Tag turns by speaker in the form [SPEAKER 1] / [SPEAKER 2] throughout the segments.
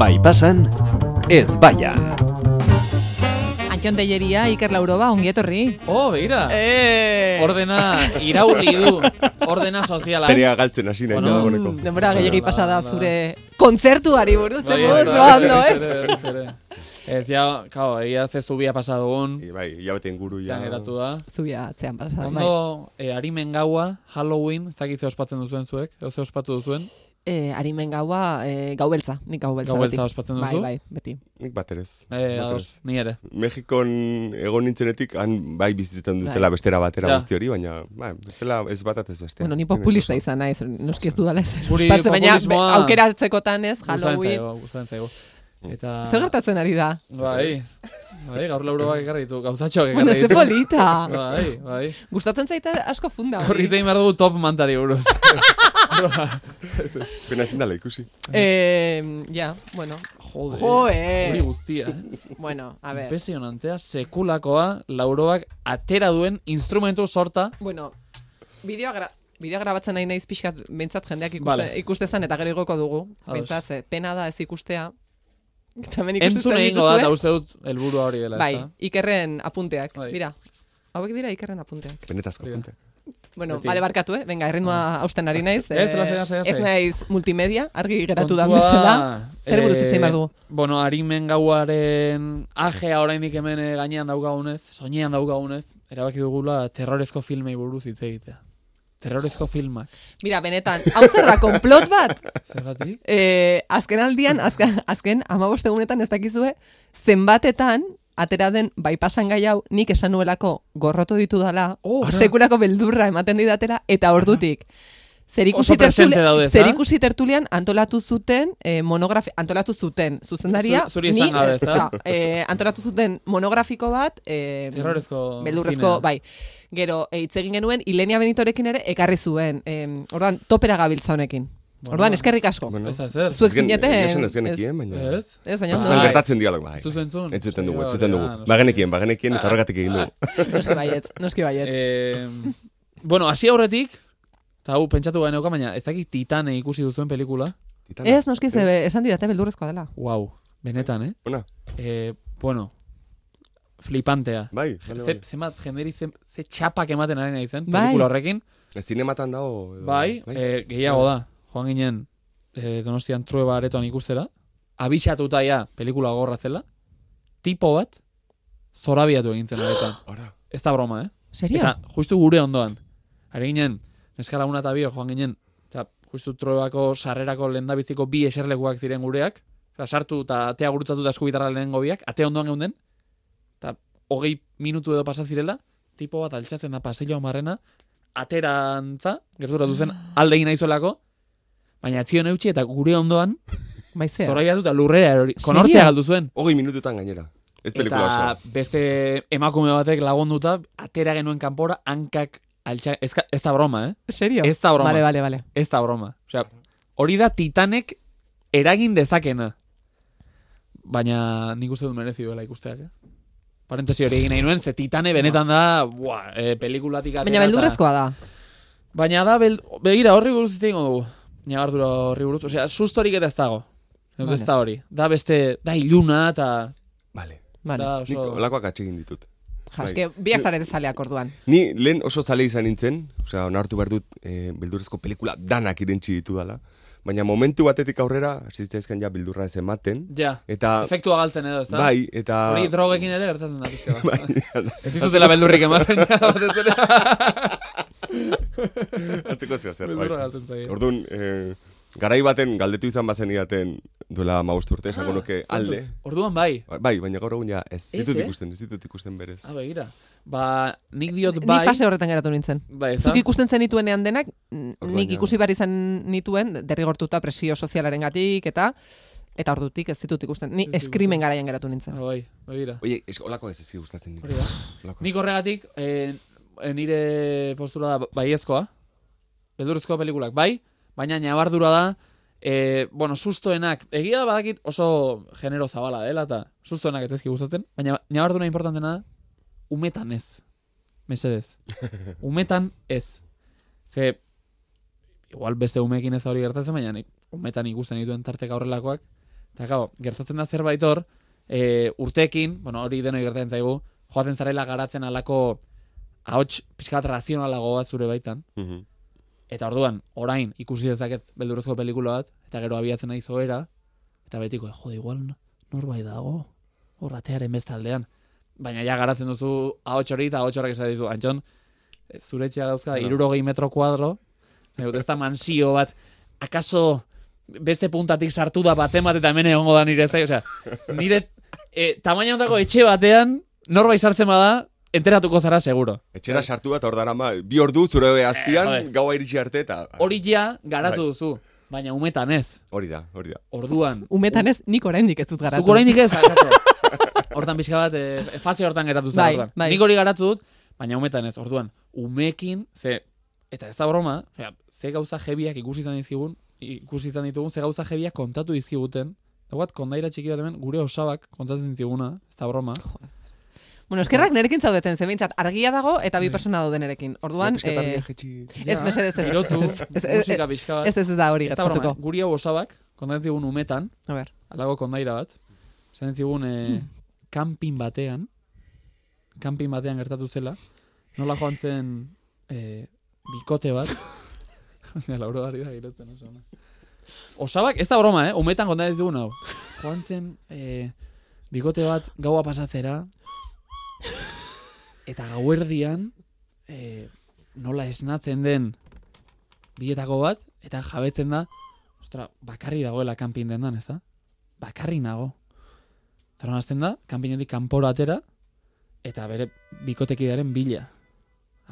[SPEAKER 1] Bai pasan, ez baian.
[SPEAKER 2] Antion Teieria, Iker Lauroba, ongi etorri.
[SPEAKER 3] Oh, begira.
[SPEAKER 4] Eh!
[SPEAKER 3] Ordena iraurri du. Ordena soziala.
[SPEAKER 5] Perea galtzen hasi naiz
[SPEAKER 3] Bai. Bueno,
[SPEAKER 5] dagoeneko.
[SPEAKER 2] Denbora
[SPEAKER 3] Txalo,
[SPEAKER 2] gehiagi
[SPEAKER 3] ba,
[SPEAKER 2] pasada
[SPEAKER 3] ba.
[SPEAKER 2] zure kontzertuari buruz,
[SPEAKER 3] Bai,
[SPEAKER 2] emoz,
[SPEAKER 3] bai,
[SPEAKER 2] ba,
[SPEAKER 3] bai,
[SPEAKER 2] ondo,
[SPEAKER 3] berriz
[SPEAKER 2] ez?
[SPEAKER 3] ere, berriz ere. Ez ja, Eh, kao, egia ez zubia pasadugun,
[SPEAKER 5] I, Bai, hilabete inguru ja.
[SPEAKER 3] izan geratu da.
[SPEAKER 2] Zubia atzean pasadan, bai.
[SPEAKER 3] Ondo, e, arimen gaua, Halloween, zakize ospatzen duzuen zuek, edo ze ospatu duzuen,
[SPEAKER 2] Eh, arimen gaua, eh, gau beltza, nik gau beltza
[SPEAKER 3] gau
[SPEAKER 2] beti.
[SPEAKER 3] beltza ospatzen
[SPEAKER 2] Bai,
[SPEAKER 3] duzu.
[SPEAKER 2] bai, beti.
[SPEAKER 5] Nik baterez.
[SPEAKER 3] E,
[SPEAKER 5] baterez.
[SPEAKER 3] ados, ni ere.
[SPEAKER 5] Mexikon egon nintzenetik, han bai bizitzen dutela bestera batera
[SPEAKER 3] Ja.
[SPEAKER 5] guzti hori, baina bai, bestela ez batat ez bestea.
[SPEAKER 2] Bueno, ni
[SPEAKER 5] Hemen
[SPEAKER 2] populista
[SPEAKER 5] oso.
[SPEAKER 2] izan naiz, noski ez dudala ez.
[SPEAKER 3] Guri
[SPEAKER 2] ospatzen, baina be-
[SPEAKER 3] populismoa-
[SPEAKER 2] aukeratzekotan ez,
[SPEAKER 3] Gustatzen
[SPEAKER 2] Halloween.
[SPEAKER 3] zaigu, gustatzen zaigu. Eta...
[SPEAKER 2] Zer gertatzen ari da?
[SPEAKER 3] Bai, bai, gaur lauroak ekarri ditu, gauzatxoak
[SPEAKER 2] Bueno,
[SPEAKER 3] ekarri
[SPEAKER 2] ez
[SPEAKER 3] ditu.
[SPEAKER 2] polita.
[SPEAKER 3] Bai, bai.
[SPEAKER 2] Gustatzen zaita asko funda.
[SPEAKER 3] Gaur hitz egin behar dugu top mantari buruz.
[SPEAKER 5] Pena ezin dela ikusi.
[SPEAKER 2] Eh, ja, bueno.
[SPEAKER 3] Jode. Hori
[SPEAKER 2] Joe!
[SPEAKER 3] guztia, eh?
[SPEAKER 2] Bueno, a ver.
[SPEAKER 3] Impresionantea, sekulakoa, lauroak atera duen instrumentu sorta.
[SPEAKER 2] Bueno, bideoa gra bideoa grabatzen nahi naiz pixkat bentsat jendeak ikuste,
[SPEAKER 3] Vale.
[SPEAKER 2] ikustezan eta gero igoko dugu.
[SPEAKER 3] Ados.
[SPEAKER 2] Bentsat, ze, pena da ez ikustea. Eta hemen ikusten
[SPEAKER 3] Entzun egingo da,
[SPEAKER 2] dituzue.
[SPEAKER 3] eta uste dut, helburua hori dela,
[SPEAKER 2] Bai,
[SPEAKER 3] ezta?
[SPEAKER 2] ikerren apunteak.
[SPEAKER 3] Bai.
[SPEAKER 2] Mira, hauek dira ikerren apunteak.
[SPEAKER 5] Benetazko
[SPEAKER 3] Hori da.
[SPEAKER 5] puntak.
[SPEAKER 2] Bueno,
[SPEAKER 3] Beti. Ah.
[SPEAKER 2] bale barkatu, eh? Venga, erritmoa hausten ari naiz.
[SPEAKER 3] Ez,
[SPEAKER 2] eh,
[SPEAKER 3] lasai, lasai, lasai.
[SPEAKER 2] Ez naiz multimedia, argi geratu da
[SPEAKER 3] Kontua
[SPEAKER 2] bezala.
[SPEAKER 3] da,
[SPEAKER 2] Zer buruz
[SPEAKER 3] eh,
[SPEAKER 2] hitz egin behar dugu?
[SPEAKER 3] Bueno, harimen gauaren ajea oraindik hemen eh, gainean daukagunez, soinean daukagunez, erabaki dugula terrorezko filmei buruz hitz egitea. Terrorezko filmak.
[SPEAKER 2] Mira, benetan, hau zer da, konplot bat?
[SPEAKER 3] Zergatik?
[SPEAKER 2] Eh, azken aldian, azken, azken amabost egunetan ez dakizue, zenbatetan, atera den bypassan gai hau, nik esan nuelako gorrotu ditu dala,
[SPEAKER 3] Oh, ara.
[SPEAKER 2] sekulako beldurra ematen didatela, eta ordutik. Zerikusi,
[SPEAKER 3] Oso presente
[SPEAKER 2] tertule-
[SPEAKER 3] daude, ezta?
[SPEAKER 2] zerikusi tertulian antolatu zuten eh, monografi, antolatu zuten zuzendaria,
[SPEAKER 3] Zu- zuri esan
[SPEAKER 2] ni
[SPEAKER 3] gabe,
[SPEAKER 2] ez
[SPEAKER 3] ezta?
[SPEAKER 2] da, eh, antolatu zuten monografiko bat, eh,
[SPEAKER 3] Terrorezko
[SPEAKER 2] Belurrezko,
[SPEAKER 3] zinea.
[SPEAKER 2] bai. Gero, eh, hitz egin genuen, Ilenia Benitorekin ere ekarri zuen. Em, orduan, topera gabiltza honekin.
[SPEAKER 3] Bueno,
[SPEAKER 2] orduan,
[SPEAKER 3] bueno.
[SPEAKER 2] eskerrik asko.
[SPEAKER 5] Bueno,
[SPEAKER 3] Ez da zer?
[SPEAKER 2] bai. Zu ez
[SPEAKER 5] ez gen-
[SPEAKER 2] gineten-
[SPEAKER 5] egia esan ez genekien, baina...
[SPEAKER 3] Ez?
[SPEAKER 2] Ez, baina
[SPEAKER 5] Batzutan
[SPEAKER 3] Bai.
[SPEAKER 5] gertatzen dialog, bai.
[SPEAKER 3] Zu zentzun?
[SPEAKER 5] Entzuten dugu,
[SPEAKER 3] Bai, Ah.
[SPEAKER 5] entzuten
[SPEAKER 3] hori
[SPEAKER 5] dugu. Ba,
[SPEAKER 3] da, no sé.
[SPEAKER 5] Bagenekien, bagenekien, eta horregatik egin dugu.
[SPEAKER 2] noski baietz, noski baietz.
[SPEAKER 3] Eh, bueno, hasi aurretik, eta hau pentsatu gaineuka, baina ez dakit titane ikusi duzuen pelikula. Eh,
[SPEAKER 5] Titana.
[SPEAKER 2] Ez, noski ze esan didate beldurrezkoa dela.
[SPEAKER 3] Wow, benetan, eh?
[SPEAKER 5] Ona,
[SPEAKER 3] eh bueno, flipantea.
[SPEAKER 5] bai, bale,
[SPEAKER 3] Ze,
[SPEAKER 5] bale.
[SPEAKER 3] zenbat jenderi ze, ze txapak ematen ari nahi zen,
[SPEAKER 2] Bai.
[SPEAKER 3] pelikula horrekin.
[SPEAKER 5] Zinematan dago... edo-
[SPEAKER 3] Bai, eh, gehiago da, joan ginen eh, donostian trueba aretoan ikustera, abisatuta ja pelikula gorra zela, tipo bat, zorabiatu egin zen aretan.
[SPEAKER 5] Ora,
[SPEAKER 3] Ez da broma, eh?
[SPEAKER 2] Serio?
[SPEAKER 3] Eta justu gure ondoan. Ari ginen, neska laguna eta bio joan ginen, eta justu troebako sarrerako lehendabiziko bi eserlekuak ziren gureak, eta sartu eta atea gurutzatu da eskubitarra lehenengo biak, atea ondoan geunden, eta hogei minutu edo pasa zirela, tipo bat altxatzen da pasillo marrena, aterantza, gertura duzen alde egin aizuelako, baina etzion eutxi eta gure ondoan,
[SPEAKER 2] Maizea.
[SPEAKER 3] zoraiatu eta lurrera erori,
[SPEAKER 2] Serio?
[SPEAKER 3] konortea galdu zuen.
[SPEAKER 5] hogei minututan gainera. Ez pelikula
[SPEAKER 3] Eta
[SPEAKER 5] osoa.
[SPEAKER 3] beste emakume batek lagunduta, atera genuen kanpora, hankak altxa... Ez, ka- ez da broma, eh?
[SPEAKER 2] Serio?
[SPEAKER 3] Ez da broma.
[SPEAKER 2] Vale, vale, vale.
[SPEAKER 3] Ez da broma. Osea, hori da Titanek eragin dezakena. Baina nik uste dut merezi duela ikusteak, eh? Parentesi hori egin nahi nuen, ze Titane benetan da, buah, eh, pelikulatik atera.
[SPEAKER 2] Baina
[SPEAKER 3] eta-
[SPEAKER 2] beldurrezkoa da.
[SPEAKER 3] Baina da, bel, begira, horri buruz hitz egingo dugu. Nagardura horri buruz. Osea, sustorik eta ez dago. Ez
[SPEAKER 2] Vale.
[SPEAKER 3] da hori. Da beste, da iluna eta...
[SPEAKER 5] Vale.
[SPEAKER 2] Vale.
[SPEAKER 3] Da
[SPEAKER 5] Nik
[SPEAKER 3] oso...
[SPEAKER 5] olakoak atxegin ditut.
[SPEAKER 2] Ja,
[SPEAKER 5] Bai.
[SPEAKER 2] eske, biak zarete zaleak orduan.
[SPEAKER 5] Ni lehen oso zale izan nintzen, osea, onartu behar dut, e, beldurrezko pelikula danak irentzi ditu dala, baina momentu batetik aurrera, zitzaizkan ja beldurra ez ematen,
[SPEAKER 3] Ja.
[SPEAKER 5] eta...
[SPEAKER 3] Efektua galtzen edo, ez da?
[SPEAKER 5] Bai, eta...
[SPEAKER 3] Hori drogekin ere gertatzen da pizka bat.
[SPEAKER 5] Bai.
[SPEAKER 3] Ez ditutela beldurrik ematen ja, batez ere.
[SPEAKER 5] Antzeko zio zer, bai.
[SPEAKER 3] Beldurra galtzen zaie.
[SPEAKER 5] Orduan, e, garai baten galdetu izan bazen iaten duela maust urte, esango nuke alde.
[SPEAKER 3] Orduan bai.
[SPEAKER 5] Bai, baina gaur egun ja ez
[SPEAKER 3] Ah, Ez,
[SPEAKER 5] ditut
[SPEAKER 3] eh?
[SPEAKER 5] ikusten, ez ditut ikusten berez.
[SPEAKER 3] Ah, begira. Ba, nik diot
[SPEAKER 2] Ni
[SPEAKER 3] bai.
[SPEAKER 2] fase horretan geratu nintzen.
[SPEAKER 3] Bai, ez da?
[SPEAKER 2] Zuk ikusten zenituenean denak, n-
[SPEAKER 5] Orduan
[SPEAKER 2] nik
[SPEAKER 5] ja.
[SPEAKER 2] ikusi behar izan nituen, derrigortuta presio sozialarengatik eta eta ordutik ez ditut ikusten. Ni
[SPEAKER 3] Ez ditut
[SPEAKER 2] eskrimen garaian geratu nintzen.
[SPEAKER 3] Ah, bai, begira.
[SPEAKER 5] Oie, es, olako ez ez gustatzen
[SPEAKER 3] Hori
[SPEAKER 5] nire.
[SPEAKER 3] da.
[SPEAKER 5] Olako.
[SPEAKER 3] Nik horregatik, eh, eh, nire postura da baiezkoa. Beldurrezko pelikulak, bai, baina nabardura da, eh, bueno, sustoenak, egia da badakit oso genero zabala dela, eta sustoenak ez ezki gustatzen, baina nabardura importantena da, umetan ez. Mesedez. Umetan ez. Ze, igual beste umekin ez da hori gertatzen, baina nik umetan ikusten dituen tarteka horrelakoak, Eta gau, gertatzen da zerbait hor, e, urteekin, bueno, hori denoi gertatzen zaigu, joaten zarela garatzen alako ahots pixka bat razionalago bat zure baitan.
[SPEAKER 5] Mhm.
[SPEAKER 3] Eta orduan, orain ikusi dezaket beldurrezko pelikula bat, eta gero abiatzen nahi zoera, eta betiko, "Eh, jode, igual no- norbait dago, horratearen bestaldean. Baina ja garatzen duzu ahots hori eta ahots horrek esaten dizu, Antxon, eh, zure etxea dauzka
[SPEAKER 5] Bueno.
[SPEAKER 3] irurogei metro kuadro, nahi dut, ez da mansio bat, akaso beste puntatik sartu da bat emat eta hemen egongo da nire zai, osea, nire e, tamaina honetako etxe batean, norbait sartzen bada, enteratuko zara seguro.
[SPEAKER 5] Etxera sartu bat, hor darama, bi ordu zure
[SPEAKER 3] Eh,
[SPEAKER 5] azpian,
[SPEAKER 3] joder.
[SPEAKER 5] gaua iritsi arte eta...
[SPEAKER 3] Hori ja garatu
[SPEAKER 5] Ah, Bai.
[SPEAKER 3] duzu, baina umetan ez.
[SPEAKER 5] Hori da, hori da.
[SPEAKER 3] Orduan,
[SPEAKER 2] Umetan ez, nik oraindik ez dut garatu.
[SPEAKER 3] Zuk oraindik ez, akaso. Hortan pixka bat, eh, fase hortan geratu zara.
[SPEAKER 2] Bai,
[SPEAKER 3] orduan.
[SPEAKER 2] bai.
[SPEAKER 3] Nik hori garatu dut, baina umetan ez, orduan, umekin, ze, eta ez da broma, osea, ze gauza jebiak ikusi izan dizkigun, ikusi izan ditugun, ze gauza jebiak kontatu dizkiguten, eta guat, kondaira txiki bat hemen, gure osabak kontatzen dizkiguna, ez da broma.
[SPEAKER 2] Bueno, eskerrak nerekin zaudeten, ze behintzat argia dago eta
[SPEAKER 3] Bai.
[SPEAKER 2] bi persona daude nerekin. Orduan,
[SPEAKER 5] Zure pixkat
[SPEAKER 2] eh,
[SPEAKER 5] argia jaitsi.
[SPEAKER 2] ez mesedez ez.
[SPEAKER 3] Pilotu,
[SPEAKER 2] Ez, ez, ez,
[SPEAKER 3] musika pixka bat.
[SPEAKER 2] ez, ez da hori
[SPEAKER 3] Ez da broma,
[SPEAKER 2] gertatuko.
[SPEAKER 3] guri hau osabak, kontatzen digun umetan,
[SPEAKER 2] A ber.
[SPEAKER 3] alago kondaira bat. Zaten zigun, eh, kanpin batean, kanpin batean gertatu zela, nola joan zen eh, bikote bat. Baina, lauro ari da girotzen oso. ona. Osabak, ez da broma, eh? Umetan konta ez dugun hau. Joan zen eh, bikote bat gaua pasatzera, eta gauerdian eh, nola esnatzen den biletako bat, eta jabetzen da, ostra, bakarri dagoela kanpin dendan, ez da? bakarri nago. Zaron azten da, kanpinetik kanpora atera, eta bere bikotekidearen bila.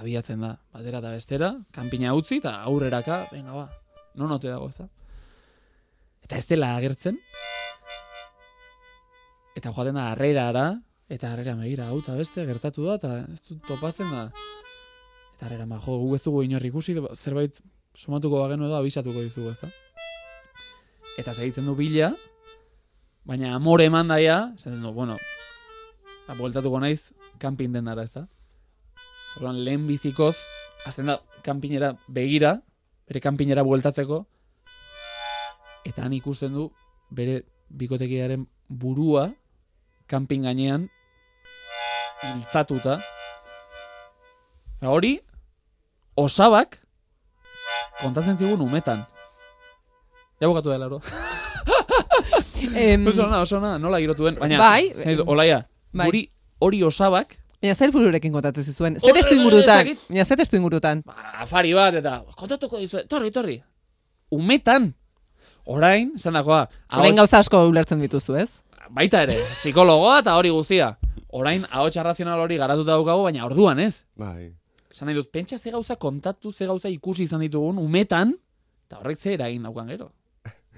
[SPEAKER 3] Abiatzen da, batera eta bestera, kanpina utzi, eta aurreraka, venga ba, non ote dago, ez da? Eta ez dela agertzen, eta joaten da harrerara, eta harrera megira hau eta beste, gertatu da, eta ez dut topatzen da. Eta harrera ma, jo, gu ez dugu inor ikusi, zerbait somatuko bagenu edo abisatuko dizugu, ez da? Eta segitzen du bila, Baina amore eman daia, esaten du, bueno, eta bueltatuko naiz, kanpin dendara, ez da? Orduan, lehen bizikoz, azten da, kanpinera begira, bere kanpinera bueltatzeko, eta han ikusten du, bere bikotekidearen burua, kanpin gainean, hiltzatuta. Eta hori, osabak, kontatzen zigun umetan. Ja bukatu da, Lauro.
[SPEAKER 2] Em,
[SPEAKER 3] Oso ona, oso ona, nola girotuen, baina...
[SPEAKER 2] Mm. Bai.
[SPEAKER 3] nahi dut, olaia,
[SPEAKER 2] Bai.
[SPEAKER 3] guri hori osabak,
[SPEAKER 2] Baina zer bururekin kontatzen zizuen?
[SPEAKER 3] Horre,
[SPEAKER 2] Zer testu
[SPEAKER 3] ez
[SPEAKER 2] ingurutan?
[SPEAKER 3] dakit.
[SPEAKER 2] Baina zer testu ingurutan?
[SPEAKER 3] ba, afari bat, eta kontatuko dizu, torri, torri. Umetan, orain, esan dakoa,
[SPEAKER 2] Horrein gauza asko ulertzen dituzu, ez?
[SPEAKER 3] baita ere, psikologoa eta hori guztia. Orain, ahotsa razional hori garatuta daukagu, baina orduan ez.
[SPEAKER 5] Bai.
[SPEAKER 3] Esan nahi dut, pentsa ze gauza kontatu, ze gauza ikusi izan ditugun, umetan, eta horrek ze eragin daukan gero.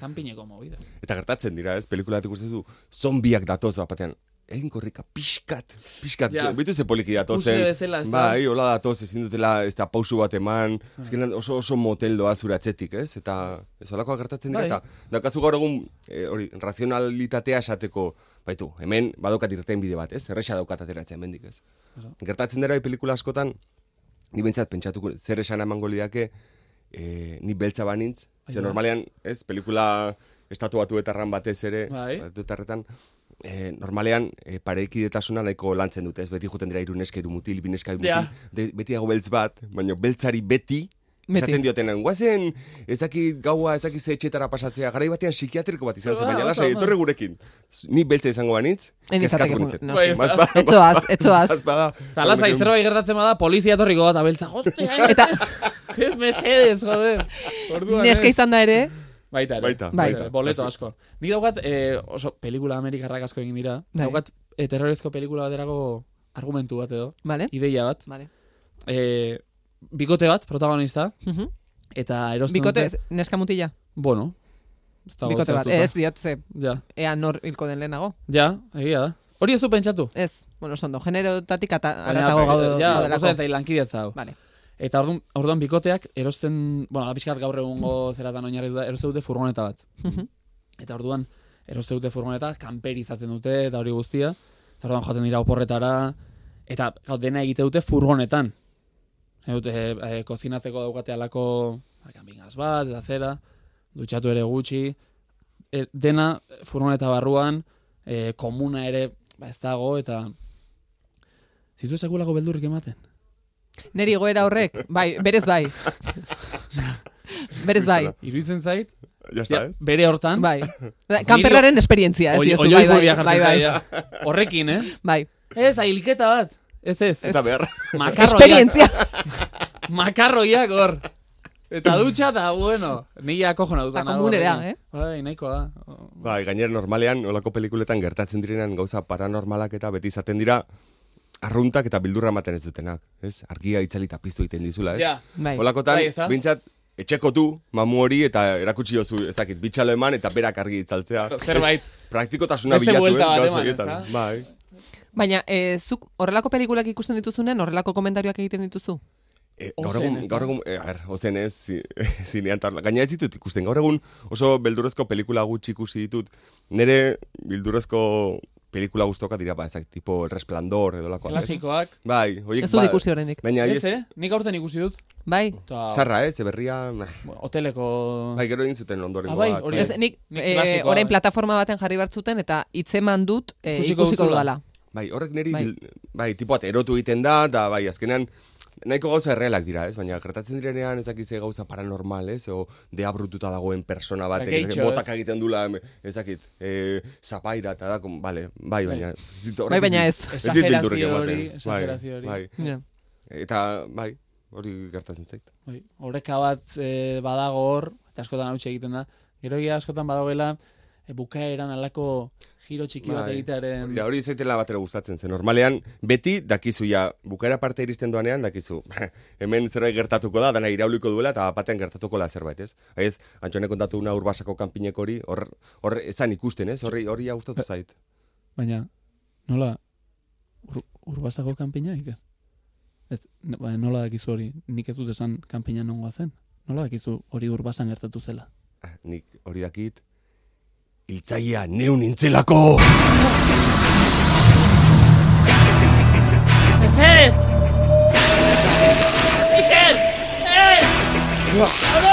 [SPEAKER 3] Kanpineko movida.
[SPEAKER 5] Eta gertatzen dira, ez, pelikulat ikusten du, zombiak datoz bat batean. Egin korrika, pixkat, pixkat,
[SPEAKER 3] Ja.
[SPEAKER 5] yeah. bitu ze poliki
[SPEAKER 3] Uste
[SPEAKER 5] datozen.
[SPEAKER 3] bezala, ez da? Bai.
[SPEAKER 5] Bai, hola datoz, ezin dutela, ez da pausu bat eman, azkenean oso oso motel doa zure atzetik, ez? Eta ez holakoa gertatzen dira,
[SPEAKER 3] Bai.
[SPEAKER 5] eta daukazu gaur egun, eh, hori, razionalitatea esateko, baitu, hemen badaukat irten bide bat, ez? Erresa daukat ateratzen hemendik, ez? Gertatzen dira, bai, pelikula askotan, ni bentsat pentsatuko, zer esan emango lidake, eh, ni beltza banintz, ze
[SPEAKER 3] Ai, ba.
[SPEAKER 5] normalean, ez, pelikula estatu batuetarran batez ere,
[SPEAKER 3] Bai.
[SPEAKER 5] batuetarretan, eh, normalean eh, pareikidetasuna nahiko lantzen dute, ez beti juten dira iruneska, irumutil, bineska, irumutil,
[SPEAKER 3] Ja.
[SPEAKER 5] de, beti dago beltz bat, baina beltzari beti,
[SPEAKER 2] Beti.
[SPEAKER 5] Esaten diotenan, guazen, ezakit gaua, ezakit ze etxetara pasatzea, garai batean psikiatriko bat izan zen,
[SPEAKER 3] Ah,
[SPEAKER 5] baina
[SPEAKER 3] oso
[SPEAKER 5] lasai,
[SPEAKER 3] ondo.
[SPEAKER 5] etorri gurekin. Ni beltza izango banitz,
[SPEAKER 2] Ez
[SPEAKER 5] kezkatu
[SPEAKER 2] nintzateke
[SPEAKER 5] nintzen.
[SPEAKER 2] joan,
[SPEAKER 3] noski.
[SPEAKER 5] Baz- ba-
[SPEAKER 2] Etzoaz, etzoaz.
[SPEAKER 5] bazpada-
[SPEAKER 3] Bai. Eta lasai zerbait gertatzen bada, polizia torriko bat, abeltza, hostia,
[SPEAKER 2] Eta
[SPEAKER 3] ez mesedez, joder. Orduan,
[SPEAKER 2] neska
[SPEAKER 3] ez.
[SPEAKER 2] izan da ere,
[SPEAKER 3] Baita ere.
[SPEAKER 5] Baita,
[SPEAKER 2] Bai.
[SPEAKER 5] baita.
[SPEAKER 3] Boleto
[SPEAKER 5] Kasi-
[SPEAKER 3] asko. Nik daukat, eh, oso, pelikula amerikarrak asko egin dira.
[SPEAKER 2] Bai.
[SPEAKER 3] Daukat, eh, terrorezko pelikula baterako argumentu bat edo,
[SPEAKER 2] vale?
[SPEAKER 3] ideia bat.
[SPEAKER 2] Vale.
[SPEAKER 3] Eh, bikote bat, protagonista,
[SPEAKER 2] Mhm.
[SPEAKER 3] eta erosten
[SPEAKER 2] Bikote,
[SPEAKER 3] dute-
[SPEAKER 2] neska mutila,
[SPEAKER 3] Bueno. Ez dago
[SPEAKER 2] bikote bat.
[SPEAKER 3] zehaztuta.
[SPEAKER 2] Ez diot, ze,
[SPEAKER 3] Ja,
[SPEAKER 2] ea nor hilko den lehenago.
[SPEAKER 3] ja, egia da. Hori ez du pentsatu.
[SPEAKER 2] Ez, bueno, sondo, generotatik ata-
[SPEAKER 3] Baina,
[SPEAKER 2] aratago gaude-
[SPEAKER 3] ja,
[SPEAKER 2] gaudelako.
[SPEAKER 3] gozatzen zaila lankidetza hau.
[SPEAKER 2] Vale.
[SPEAKER 3] Eta orduan, orduan bikoteak erosten, bueno, apiskat gaur egungo zeratan oinarri da, erosten dute furgoneta bat.
[SPEAKER 2] Mhm.
[SPEAKER 3] Eta orduan, eroste dute furgoneta, kanperizatzen dute, eta hori guztia. Eta orduan joaten dira oporretara, eta gau, dena egite dute furgonetan. E, dute, e, kozinatzeko daukate alako ba, kanpingaz bat, eta zera, dutxatu ere gutxi, e, dena furgoneta barruan, e, komuna ere ba, ez dago, eta zitu sekulako beldurrik ematen.
[SPEAKER 2] Neri goera horrek, bai, berez bai. berez bai.
[SPEAKER 3] Iruizen zait, ja,
[SPEAKER 5] Ja está, ez?
[SPEAKER 3] bere hortan,
[SPEAKER 2] Bai. Kamperlaren esperientzia, ez
[SPEAKER 3] oi-
[SPEAKER 2] diozu, bai, bai,
[SPEAKER 3] oioi burua
[SPEAKER 2] bai,
[SPEAKER 3] jartzen
[SPEAKER 2] bai,
[SPEAKER 3] zaia. Horrekin, eh?
[SPEAKER 2] bai.
[SPEAKER 3] Ez, ahilketa bat. Ez, ez.
[SPEAKER 5] Ez da behar.
[SPEAKER 3] Makarroiak,
[SPEAKER 2] Esperientzia.
[SPEAKER 3] makarroiak hor. Eta dutxa da, bueno. Nila kojona dut.
[SPEAKER 2] Ba, komunera, eh?
[SPEAKER 3] Bai, nahikoa da.
[SPEAKER 5] Bai, gainera normalean, olako pelikuletan gertatzen direnan gauza paranormalak eta beti izaten dira arruntak eta bildurra ematen ez dutenak, ez? Argia itzali eta piztu egiten dizula, ez?
[SPEAKER 3] Ja.
[SPEAKER 2] Bai.
[SPEAKER 5] Olakotan,
[SPEAKER 3] Bai, ez da?
[SPEAKER 5] bintzat, etxeko du, mamu hori eta erakutsi jozu, ez dakit, bitxalo eman eta berak argi itzaltzea.
[SPEAKER 3] Zerbait.
[SPEAKER 5] Ez, Praktikotasuna
[SPEAKER 3] Beste
[SPEAKER 5] bilatu, ez?
[SPEAKER 3] buelta bat
[SPEAKER 5] Gauza
[SPEAKER 3] eman,
[SPEAKER 5] horietan.
[SPEAKER 3] ezta?
[SPEAKER 5] Bai.
[SPEAKER 2] Baina, e, zuk horrelako pelikulak ikusten dituzunen, horrelako komentarioak egiten dituzu?
[SPEAKER 5] E,
[SPEAKER 3] Ozen,
[SPEAKER 5] gaur egun,
[SPEAKER 3] ez da?
[SPEAKER 5] gaur egun, e, a ber, ozen ez, zi- zinean, tar- gaina ez ditut ikusten, gaur egun oso beldurrezko pelikula gutxi ikusi ditut, nire beldurrezko pelikula gustoka dira, ba, ezak, tipo El Resplandor, edo lakoa.
[SPEAKER 3] Klasikoak.
[SPEAKER 5] Bai, horiek,
[SPEAKER 2] Ez dut ikusi oraindik.
[SPEAKER 5] Baina,
[SPEAKER 3] Ez,
[SPEAKER 5] ez,
[SPEAKER 3] eh? Nik aurten ikusi dut.
[SPEAKER 2] Bai.
[SPEAKER 3] Eta,
[SPEAKER 5] zarra, ez, eberria, nah.
[SPEAKER 3] hoteleko...
[SPEAKER 5] bai, gero egin zuten ondoren.
[SPEAKER 3] Ah, bai, hori
[SPEAKER 2] Ez, nik,
[SPEAKER 3] Nik
[SPEAKER 2] eh,
[SPEAKER 3] klasikoa,
[SPEAKER 2] orain
[SPEAKER 3] bai.
[SPEAKER 2] plataforma baten jarri bartzuten eta hitzeman dut eh,
[SPEAKER 3] Ikusiko
[SPEAKER 2] ikusiko
[SPEAKER 3] duzula.
[SPEAKER 2] dudala.
[SPEAKER 5] Bai, horrek niri,
[SPEAKER 2] Bai.
[SPEAKER 5] bil- bai, tipo bat erotu egiten da, eta bai, azkenean, nahiko gauza errealak dira, ez? Baina gertatzen direnean ezakize gauza paranormal, ez? O deabrututa dagoen persona bat,
[SPEAKER 3] Ba, geitxo,
[SPEAKER 5] botak egiten dula, em, ezakit, e, zapaira eta da, kom- bale, bai, baina... ez dit- horrek
[SPEAKER 2] Bai, baina
[SPEAKER 5] dit-
[SPEAKER 2] ez.
[SPEAKER 5] dit beldurrik
[SPEAKER 3] Exagerazio
[SPEAKER 5] ematen.
[SPEAKER 3] hori, exagerazio hori.
[SPEAKER 5] Bai, bai.
[SPEAKER 2] Ja.
[SPEAKER 5] Eta, bai, hori gertatzen zait.
[SPEAKER 3] Bai, oreka bat e, badago hor, eta askotan hautsi egiten da. Gero egia askotan badagela e, bukaeran alako giro txiki bat
[SPEAKER 5] Bai.
[SPEAKER 3] egitearen...
[SPEAKER 5] Hori da, hori zaitela batera gustatzen zen. Normalean, beti dakizu ja, bukera parte iristen doanean dakizu. Hemen zerbait gertatuko da, dana irauliko duela eta batean gertatuko la zerbait, ez? Ez, Antxone kontatu una urbasako kanpineko hori, hor, hor esan ikusten, ez? Horri, hori ja gustatu zait.
[SPEAKER 3] Baina, nola, ur, urbasako kanpina iker? Ez, n- ba, nola dakizu hori, nik ez dut esan kanpina nongoa zen? Nola dakizu hori urbasan gertatu zela?
[SPEAKER 5] Ah, Nik hori dakit, hiltzaia neu nintzelako!
[SPEAKER 3] Ez ez! Iker! Ez!
[SPEAKER 5] Ua!
[SPEAKER 3] Hau